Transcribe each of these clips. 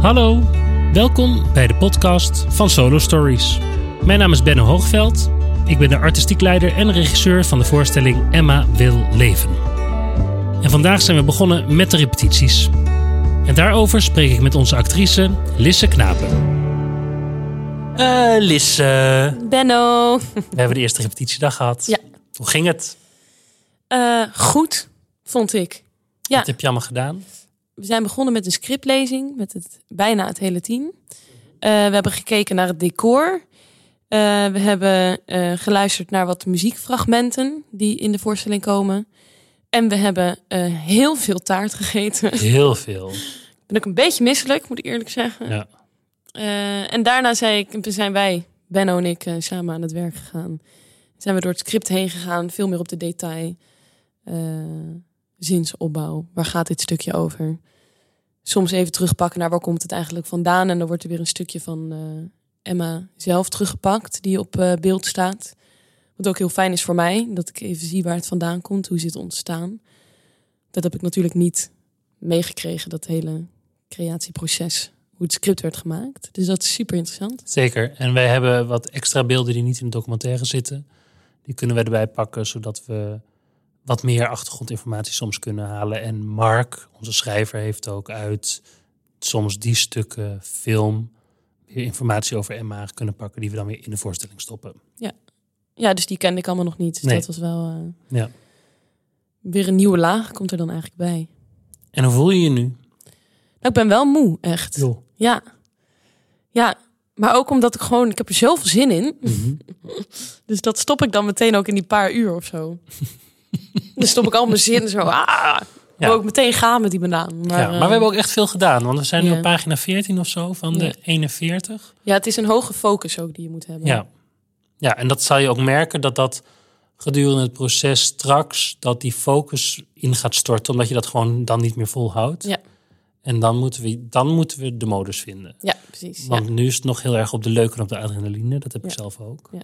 Hallo, welkom bij de podcast van Solo Stories. Mijn naam is Benno Hoogveld. Ik ben de artistiek leider en regisseur van de voorstelling Emma wil leven. En vandaag zijn we begonnen met de repetities. En daarover spreek ik met onze actrice Lisse Knapen. Eh Lisse, Benno. we hebben de eerste repetitiedag gehad. Ja. Hoe ging het? Eh, goed, vond ik. Ja. Wat heb je allemaal gedaan? We zijn begonnen met een scriptlezing met het, bijna het hele team. Eh, we hebben gekeken naar het decor. Eh, we hebben eh, geluisterd naar wat muziekfragmenten die in de voorstelling komen. En we hebben eh, heel veel taart gegeten. Heel veel. ben ook een beetje misselijk, moet ik eerlijk zeggen. Ja. Eh, en daarna zei ik, zijn wij, Benno en ik, eh, samen aan het werk gegaan. Zijn we door het script heen gegaan, veel meer op de detail. eh, zinsopbouw, waar gaat dit stukje over? Soms even terugpakken naar waar komt het eigenlijk vandaan. En dan wordt er weer een stukje van eh, Emma zelf teruggepakt, die op eh, beeld staat. Wat ook heel fijn is voor mij, dat ik even zie waar het vandaan komt, hoe is het ontstaan. Dat heb ik natuurlijk niet meegekregen, dat hele creatieproces hoe het script werd gemaakt. Dus dat is super interessant. Zeker. En wij hebben wat extra beelden die niet in de documentaire zitten. Die kunnen we erbij pakken, zodat we wat meer achtergrondinformatie soms kunnen halen. En Mark, onze schrijver, heeft ook uit soms die stukken film weer informatie over Emma kunnen pakken, die we dan weer in de voorstelling stoppen. Ja, dus die kende ik allemaal nog niet. Dus Nee. dat was wel eh, Ja. weer een nieuwe laag komt er dan eigenlijk bij. En hoe voel je je nu? Nou, ik ben wel moe, echt. Joh. Ja. Ja, maar ook omdat ik gewoon... Ik heb er zoveel zin in. Mhm. Dus dat stop ik dan meteen ook in die paar uur of zo. dan stop ik al mijn zin zo. Ah, Ja. Wil ik meteen gaan met die banaan. Maar, ja, maar we eh, hebben ook echt veel gedaan, want we zijn nu ja. op pagina 14 of zo van Ja. de 41. ja, het is een hoge focus ook die je moet hebben. Ja. ja, en dat zal je ook merken dat dat gedurende het proces straks, dat die focus in gaat storten, omdat je dat gewoon dan niet meer volhoudt. Ja. En dan moeten, we, dan moeten we de modus vinden. Ja, precies. Ja. Want nu is het nog heel erg op de leuk en op de adrenaline, dat heb ik Ja. zelf ook. Ja.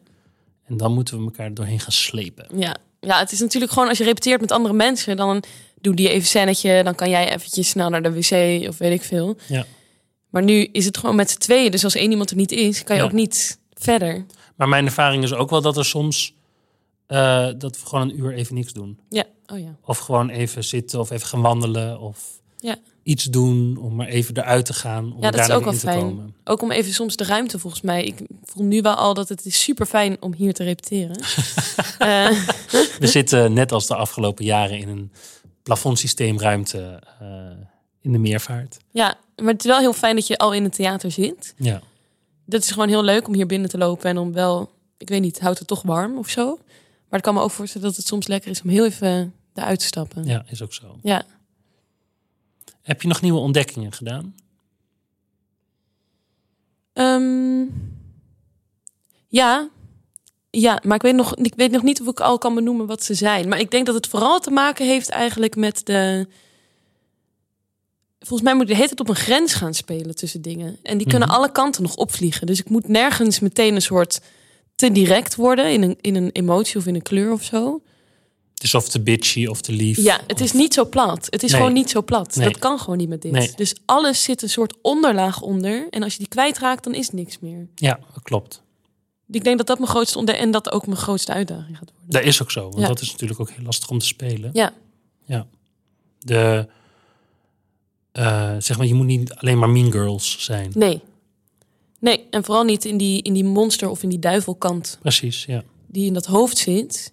En dan moeten we elkaar doorheen gaan slepen. Ja. ja, het is natuurlijk gewoon als je repeteert met andere mensen, dan doe die even scènetje, dan kan jij eventjes snel naar de wc of weet ik veel. Ja. Maar nu is het gewoon met z'n tweeën, dus als één iemand er niet is, kan je Ja. ook niet verder. Maar mijn ervaring is ook wel dat er soms eh, dat we gewoon een uur even niks doen. Ja, oh ja. Of gewoon even zitten of even gaan wandelen of Ja. iets doen om maar even eruit te gaan. Om Ja, dat is daarna ook weer wel in te fijn. komen. Ook om even soms de ruimte volgens mij. Ik voel nu wel al dat het is super fijn om hier te repeteren. Eh, We zitten net als de afgelopen jaren in een plafondsysteemruimte eh, in de meervaart. ja, maar het is wel heel fijn dat je al in het theater zit. Ja. Dat is gewoon heel leuk om hier binnen te lopen en om wel, ik weet niet, het houdt het toch warm of zo. Maar ik kan me ook voorstellen dat het soms lekker is om heel even eh, eruit te stappen. ja, is ook zo. ja. Heb je nog nieuwe ontdekkingen gedaan? Ehm, ja. Ja, maar ik weet, nog, ik weet nog niet of ik al kan benoemen wat ze zijn. Maar ik denk dat het vooral te maken heeft eigenlijk met de... Volgens mij moet ik de hele tijd op een grens gaan spelen tussen dingen. En die kunnen Mhm. alle kanten nog opvliegen. Dus ik moet nergens meteen een soort te direct worden in een, in een emotie of in een kleur of zo. Het is of te bitchy of te lief. Ja, het is of- niet zo plat. Het is Nee. gewoon niet zo plat. Nee. Dat kan gewoon niet met dit. Nee. Dus alles zit een soort onderlaag onder. En als je die kwijtraakt, dan is het niks meer. Ja, dat klopt. Ik denk dat dat mijn grootste onder en dat ook mijn grootste uitdaging gaat worden. Dat is ook zo, want Ja. dat is natuurlijk ook heel lastig om te spelen. Ja. Ja. De, eh, zeg maar, je moet niet alleen maar Mean Girls zijn. Nee. Nee, en vooral niet in die, in die monster of in die duivelkant Precies, ja. die in dat hoofd zit.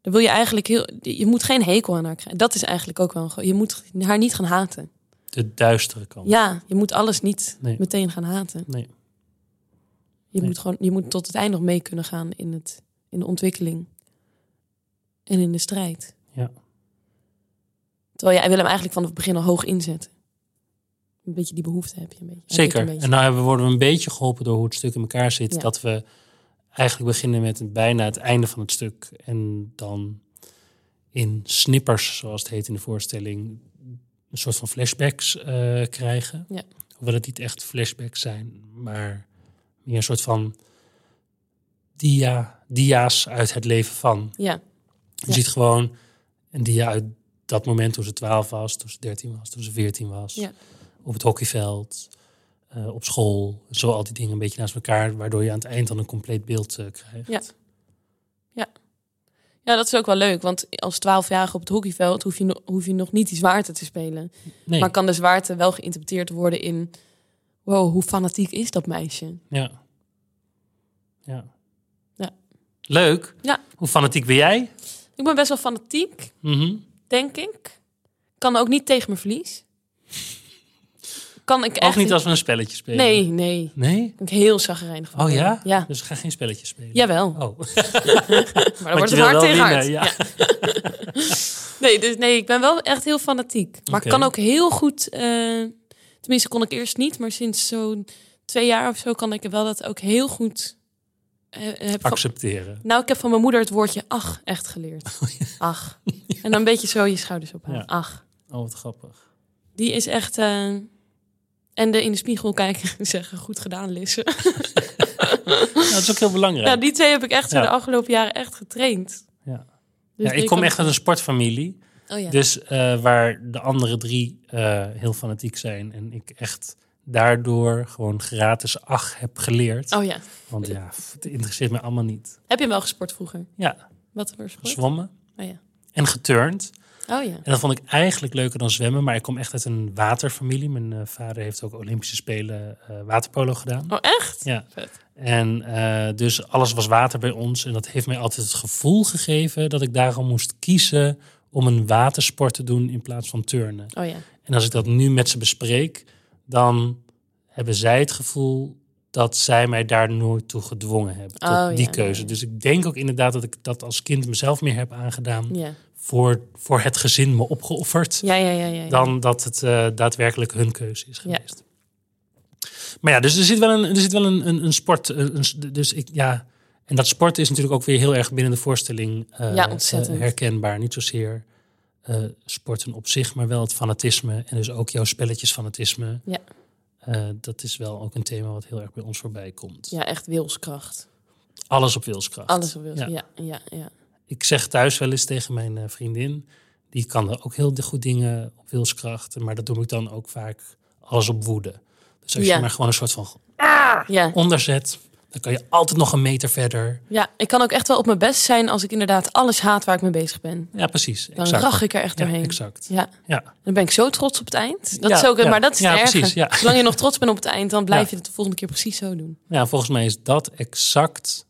Dan wil je eigenlijk heel. Je moet geen hekel aan haar krijgen. Dat is eigenlijk ook wel een. gro- Je moet haar niet gaan haten. De duistere kant. Ja, je moet alles niet Nee. meteen gaan haten. Nee. Je, Nee. moet gewoon, je moet tot het eind nog mee kunnen gaan in, het, in de ontwikkeling. En in de strijd. Ja. Terwijl jij wil hem eigenlijk vanaf het begin al hoog inzetten. Een beetje die behoefte heb je een beetje. Heb ik Zeker. een beetje. En nou hebben, worden we een beetje geholpen door hoe het stuk in elkaar zit. Ja. Dat we eigenlijk beginnen met het- bijna het einde van het stuk. En dan in snippers, zoals het heet in de voorstelling, een soort van flashbacks eh, krijgen. Ja. Hoewel het niet echt flashbacks zijn, maar meer een soort van dia, dia's uit het leven van. Ja, Je Ja. ziet gewoon een dia uit dat moment toen ze 12 was, toen ze 13 was, toen ze 14 was. Ja. Op het hockeyveld. eh, op school. Zo al die dingen een beetje naast elkaar, waardoor je aan het eind dan een compleet beeld eh, krijgt. Ja. Ja, dat is ook wel leuk, want als 12-jarige op het hockeyveld hoef je, no- hoef je nog niet die zwaarte te spelen. Nee, Maar kan de zwaarte wel geïnterpreteerd worden in... Wow, hoe fanatiek is dat meisje? ja. ja. Ja. Leuk. Ja. Hoe fanatiek ben jij? Ik ben best wel fanatiek, Mhm. denk ik. Kan ook niet tegen mijn verlies. Kan ik echt Ook niet als we een spelletje spelen. Nee, nee. Nee? Ben ik heel zagrijnig van. Oh ja? Ja. Dus ik ga geen spelletje spelen. Jawel, Oh, maar dan want wordt je het wil hard wel winnen. tegen hard. Ja. Nee, dus nee, ik ben wel echt heel fanatiek. Maar Oké. ik kan ook heel goed... eh, tenminste, kon ik eerst niet. Maar sinds zo'n twee jaar of zo kan ik wel dat ook heel goed... eh, heb van- Accepteren. nou, ik heb van mijn moeder het woordje ach echt geleerd. Ach. En dan een beetje zo je schouders ophalen. Oh Ja. Ach. Oh, wat grappig. Die is echt... eh, en de in de spiegel kijken en zeggen, goed gedaan, Lisse. Nou, dat is ook heel belangrijk. Ja, die twee heb ik echt zo Ja. de afgelopen jaren echt getraind. Ja. Dus Ja, ik die kom kan- echt uit een sportfamilie. Oh ja. Dus eh, waar de andere drie eh, heel fanatiek zijn. En ik echt daardoor gewoon gratis ach heb geleerd. Oh ja. Want ja, pff, het interesseert me allemaal niet. Heb je hem wel gesport vroeger? Ja, Wat voor sport? zwommen Oh ja. en geturnd. Oh ja. En dat vond ik eigenlijk leuker dan zwemmen. Maar ik kom echt uit een waterfamilie. Mijn eh, vader heeft ook Olympische Spelen eh, waterpolo gedaan. Oh echt? Ja. Vet. En eh, dus alles was water bij ons. En dat heeft mij altijd het gevoel gegeven dat ik daarom moest kiezen om een watersport te doen in plaats van turnen. Oh ja. En als ik dat nu met ze bespreek, dan hebben zij het gevoel dat zij mij daar nooit toe gedwongen hebben. Tot Oh, die ja, keuze. ja, ja. Dus ik denk ook inderdaad dat ik dat als kind mezelf meer heb aangedaan. Ja. Voor, voor het gezin me opgeofferd. Ja, ja, ja, ja. ja. Dan dat het eh, daadwerkelijk hun keuze is geweest. Maar ja, dus er zit wel een, er zit wel een, een, een sport. een- een- dus ik, ja. En dat sport is natuurlijk ook weer heel erg binnen de voorstelling eh, Ja, ontzettend. eh, herkenbaar. Niet zozeer eh, sporten op zich, maar wel het fanatisme. En dus ook jouw spelletjesfanatisme. Ja. Eh, dat is wel ook een thema wat heel erg bij ons voorbij komt. Ja, echt wilskracht. Alles op wilskracht. Alles op wilskracht. Ja. Ja, ja, ja. Ik zeg thuis wel eens tegen mijn eh, vriendin, die kan er ook heel goed dingen op wilskracht, maar dat doe ik dan ook vaak alles op woede. Dus als Ja. je maar gewoon een soort van Ja. onderzet, dan kan je altijd nog een meter verder. ja, ik kan ook echt wel op mijn best zijn als ik inderdaad alles haat waar ik mee bezig ben. Ja, precies. Dan exact. rach ik er echt ja, doorheen. exact. Ja, Ja, dan ben ik zo trots op het eind. Dat Ja, is ook, ja. maar dat is Ja, het erge. precies, ja. Zolang je nog trots bent op het eind, dan blijf Ja. je het de volgende keer precies zo doen. ja, volgens mij is dat exact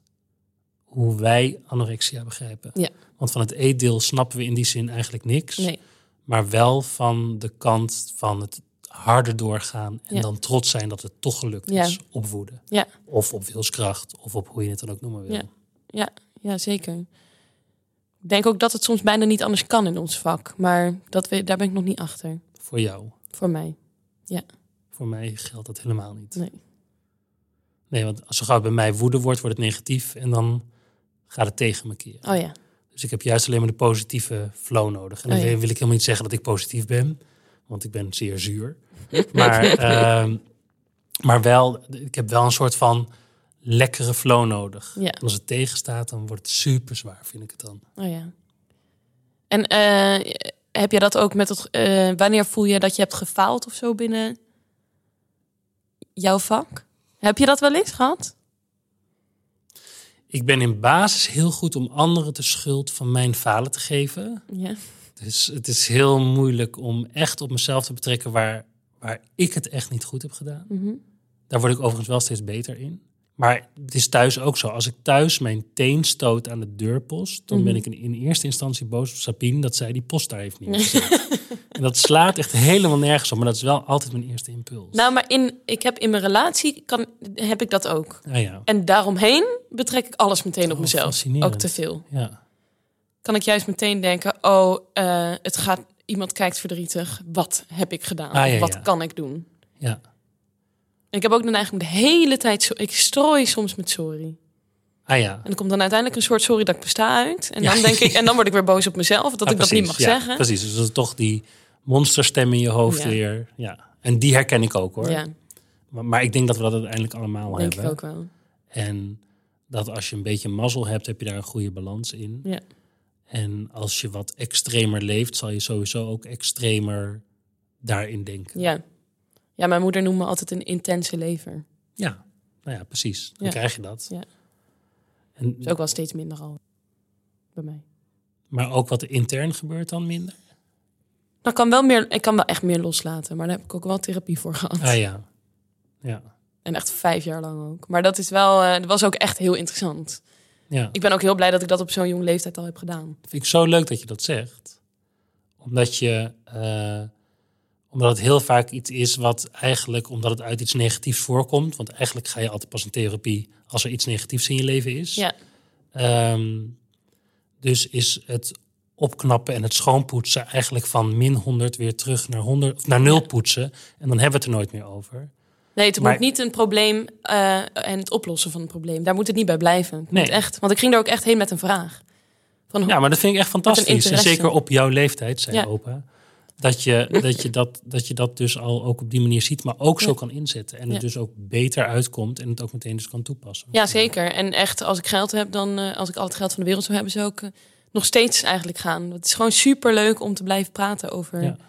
hoe wij anorexia begrijpen. Ja. Want van het eetdeel snappen we in die zin eigenlijk niks. Nee, maar wel van de kant van het harder doorgaan en Ja. dan trots zijn dat het toch gelukt Ja. is op woede. Ja. Of op wilskracht, of op hoe je het dan ook noemen wil. Ja. ja, zeker. Ik denk ook dat het soms bijna niet anders kan in ons vak. Maar dat we, daar ben ik nog niet achter. Voor jou. Voor mij. Voor mij geldt dat helemaal niet. Nee. Nee, want als zo gauw het bij mij woede wordt, wordt het negatief en dan gaat het tegen me keren. Oh ja. Dus ik heb juist alleen maar de positieve flow nodig. En dan Oh ja. wil ik helemaal niet zeggen dat ik positief ben, want ik ben zeer zuur. Maar, ehm, maar wel, ik heb wel een soort van lekkere flow nodig. Ja. En als het tegenstaat, dan wordt het super zwaar, vind ik het dan. Oh ja. En eh, heb je dat ook met het. eh, wanneer voel je dat je hebt gefaald of zo binnen jouw vak? Heb je dat wel eens gehad? Ik ben in basis heel goed om anderen de schuld van mijn falen te geven. Ja. Dus het is heel moeilijk om echt op mezelf te betrekken waar, waar ik het echt niet goed heb gedaan. Mhm. Daar word ik overigens wel steeds beter in. Maar het is thuis ook zo. Als ik thuis mijn teen stoot aan de deurpost, dan ben Mhm. ik in, in eerste instantie boos op Sabine dat zij die post daar heeft neergezet. en dat slaat echt helemaal nergens op, maar dat is wel altijd mijn eerste impuls. Nou, maar in, ik heb in mijn relatie kan, heb ik dat ook. Ah ja, En daaromheen betrek ik alles meteen op Oh, mezelf. fascinerend. Ook te veel. ja, Kan ik juist meteen denken: oh, eh, het gaat. Iemand kijkt verdrietig. Wat heb ik gedaan? Ah, ja, Wat ja. kan ik doen? ja. En ik heb ook dan eigenlijk de hele tijd. zo- Ik strooi soms met sorry. Ah ja. En er komt dan uiteindelijk een soort sorry dat ik besta uit. En Ja. dan denk ik, en dan word ik weer boos op mezelf dat Ah, ik dat niet mag precies, ja, zeggen. Precies, dus dat is toch die monsterstem in je hoofd Ja. weer. Ja. En die herken ik ook hoor. Ja, Maar, maar ik denk dat we dat uiteindelijk allemaal denk ik hebben. ook wel. En dat als je een beetje mazzel hebt, heb je daar een goede balans in. Ja. En als je wat extremer leeft, zal je sowieso ook extremer daarin denken. Ja. Ja, mijn moeder noemde me altijd een intense lever. Ja, nou ja, precies. Dan Ja. krijg je dat. Ja. En, is ook wel steeds minder al bij mij. maar ook wat intern gebeurt dan minder? Nou, ik kan wel meer, ik kan wel echt meer loslaten, maar daar heb ik ook wel therapie voor gehad. Ah ja. Ja. En echt vijf jaar lang ook. Maar dat is wel, eh, dat was ook echt heel interessant. ja. Ik ben ook heel blij dat ik dat op zo'n jonge leeftijd al heb gedaan. vind ik zo leuk dat je dat zegt. Omdat je. eh, omdat het heel vaak iets is wat eigenlijk, omdat het uit iets negatiefs voorkomt. Want eigenlijk ga je altijd pas in therapie als er iets negatiefs in je leven is. Ja. Ehm, dus is het opknappen en het schoonpoetsen eigenlijk van min 100 weer terug naar 100 of naar 0 Ja. poetsen. En dan hebben we het er nooit meer over. Nee, het Maar- moet niet een probleem eh, en het oplossen van een probleem. Daar moet het niet bij blijven. Het Nee. moet echt, want ik ging er ook echt heen met een vraag. Van hoe, Ja, maar dat vind ik echt fantastisch. En interesse. zeker op jouw leeftijd, zei Ja. opa. Dat je, dat, je dat, dat je dat dus al ook op die manier ziet, maar ook zo Ja. kan inzetten. En het Ja. dus ook beter uitkomt en het ook meteen dus kan toepassen. Ja, zeker. En echt, als ik geld heb, dan eh, als ik al het geld van de wereld zou hebben, zou ik eh, nog steeds eigenlijk gaan. Het is gewoon super leuk om te blijven praten over. Ja. Ik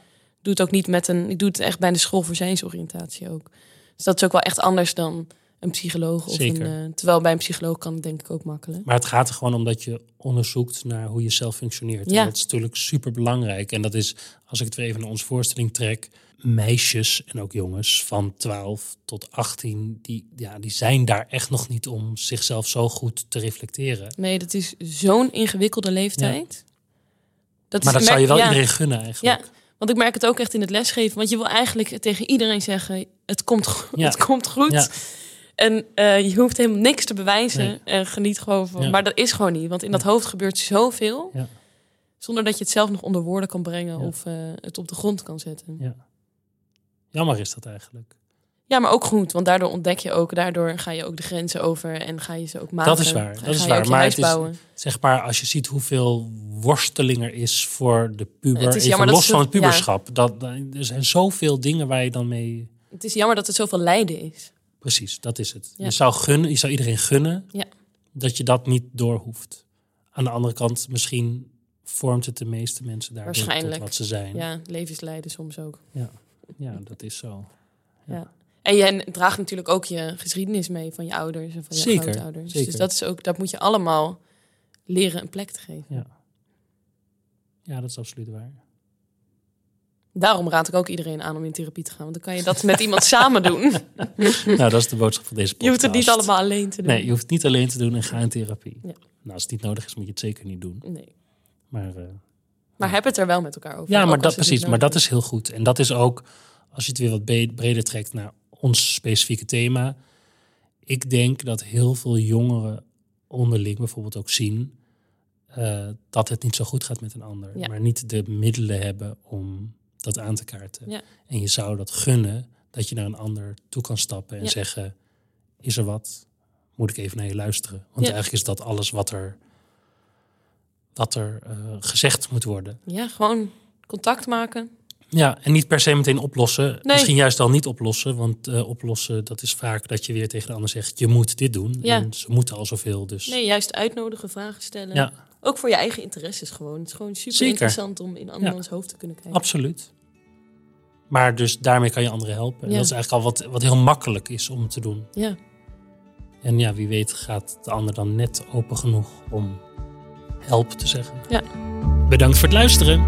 doe het ook niet met een. Ik doe het echt bij de school voor zijnsoriëntatie ook. Dus dat is ook wel echt anders dan een psycholoog. Of Zeker. Een, eh, terwijl bij een psycholoog kan het denk ik ook makkelijk. Maar het gaat er gewoon om dat je onderzoekt naar hoe je zelf functioneert. Ja. En dat is natuurlijk super belangrijk. En dat is, als ik het weer even naar onze voorstelling trek, meisjes en ook jongens van 12 tot 18, die, ja, die zijn daar echt nog niet om zichzelf zo goed te reflecteren. Nee, dat is zo'n ingewikkelde leeftijd. Dat Maar is- dat zou je merk- wel ja. iedereen gunnen eigenlijk. Ja, want ik merk het ook echt in het lesgeven. Want je wil eigenlijk tegen iedereen zeggen: het komt, go- Ja. het komt goed. Ja. En eh, je hoeft helemaal niks te bewijzen. Nee. En geniet gewoon van. Ja. Maar dat is gewoon niet. Want in dat hoofd gebeurt zoveel. Ja. Zonder dat je het zelf nog onder woorden kan brengen. Ja. Of eh, het op de grond kan zetten. Ja. Jammer is dat eigenlijk. Ja, maar ook goed. Want daardoor ontdek je ook. Daardoor ga je ook de grenzen over. En ga je ze ook maken. is waar, dat Ga, is ga je waar, ook je maar huis het is- bouwen. Zeg maar, als je ziet hoeveel worsteling er is voor de puber, Het is even jammer dat los ze- van het ja. puberschap. Dat, er zijn zoveel dingen waar je dan mee... Het is jammer dat het zoveel lijden is. Precies, dat is het. Ja. Je, zou gunnen, je zou iedereen gunnen Ja. dat je dat niet door hoeft. Aan de andere kant, misschien vormt het de meeste mensen daar tot Waarschijnlijk, wat ze zijn. Ja, Ja, levenslijden soms ook. dat is zo. En je draagt natuurlijk ook je geschiedenis mee van je ouders en van je Zeker, grootouders. zeker. Dus dat, is ook, dat moet je allemaal leren een plek te geven. Ja, dat is absoluut waar. Daarom raad ik ook iedereen aan om in therapie te gaan. Want dan kan je dat met iemand samen doen. nou, dat is de boodschap van deze podcast. Je hoeft het niet allemaal alleen te doen. Nee, je hoeft het niet alleen te doen en ga in therapie. Ja. Nou, als het niet nodig is, moet je het zeker niet doen. Nee. Maar... eh, Maar heb het er wel met elkaar over. Ja, ook maar als dat, het niet precies. Maar dat nodig is heel goed. En dat is ook, als je het weer wat be- breder trekt naar ons specifieke thema. Ik denk dat heel veel jongeren onderling bijvoorbeeld ook zien eh, dat het niet zo goed gaat met een ander. Ja. Maar niet de middelen hebben om dat aan te kaarten. Ja. En je zou dat gunnen dat je naar een ander toe kan stappen en Ja. zeggen, is er wat? Moet ik even naar je luisteren? Want Ja. eigenlijk is dat alles wat er, wat er eh, gezegd moet worden. Ja, gewoon contact maken. Ja, en niet per se meteen oplossen. Misschien juist al niet oplossen, want eh, oplossen dat is vaak dat je weer tegen de ander zegt: je moet dit doen. Ja. En ze moeten al zoveel, dus Nee, juist uitnodigen, vragen stellen. Ja. Ook voor je eigen interesses gewoon. Het is gewoon super Zeker. interessant om in andermans hoofd te kunnen kijken. absoluut. Maar dus daarmee kan je anderen helpen. En Ja. dat is eigenlijk al wat, wat heel makkelijk is om te doen. ja. En ja, wie weet gaat de ander dan net open genoeg om help te zeggen. Ja. Bedankt voor het luisteren.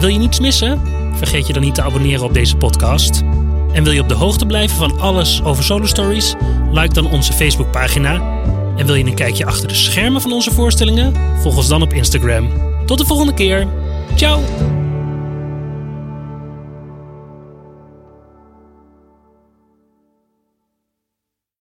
Wil je niets missen? Vergeet je dan niet te abonneren op deze podcast. En wil je op de hoogte blijven van alles over Solo Stories? Like dan onze Facebookpagina. En wil je een kijkje achter de schermen van onze voorstellingen? Volg ons dan op Instagram. Tot de volgende keer. Ciao!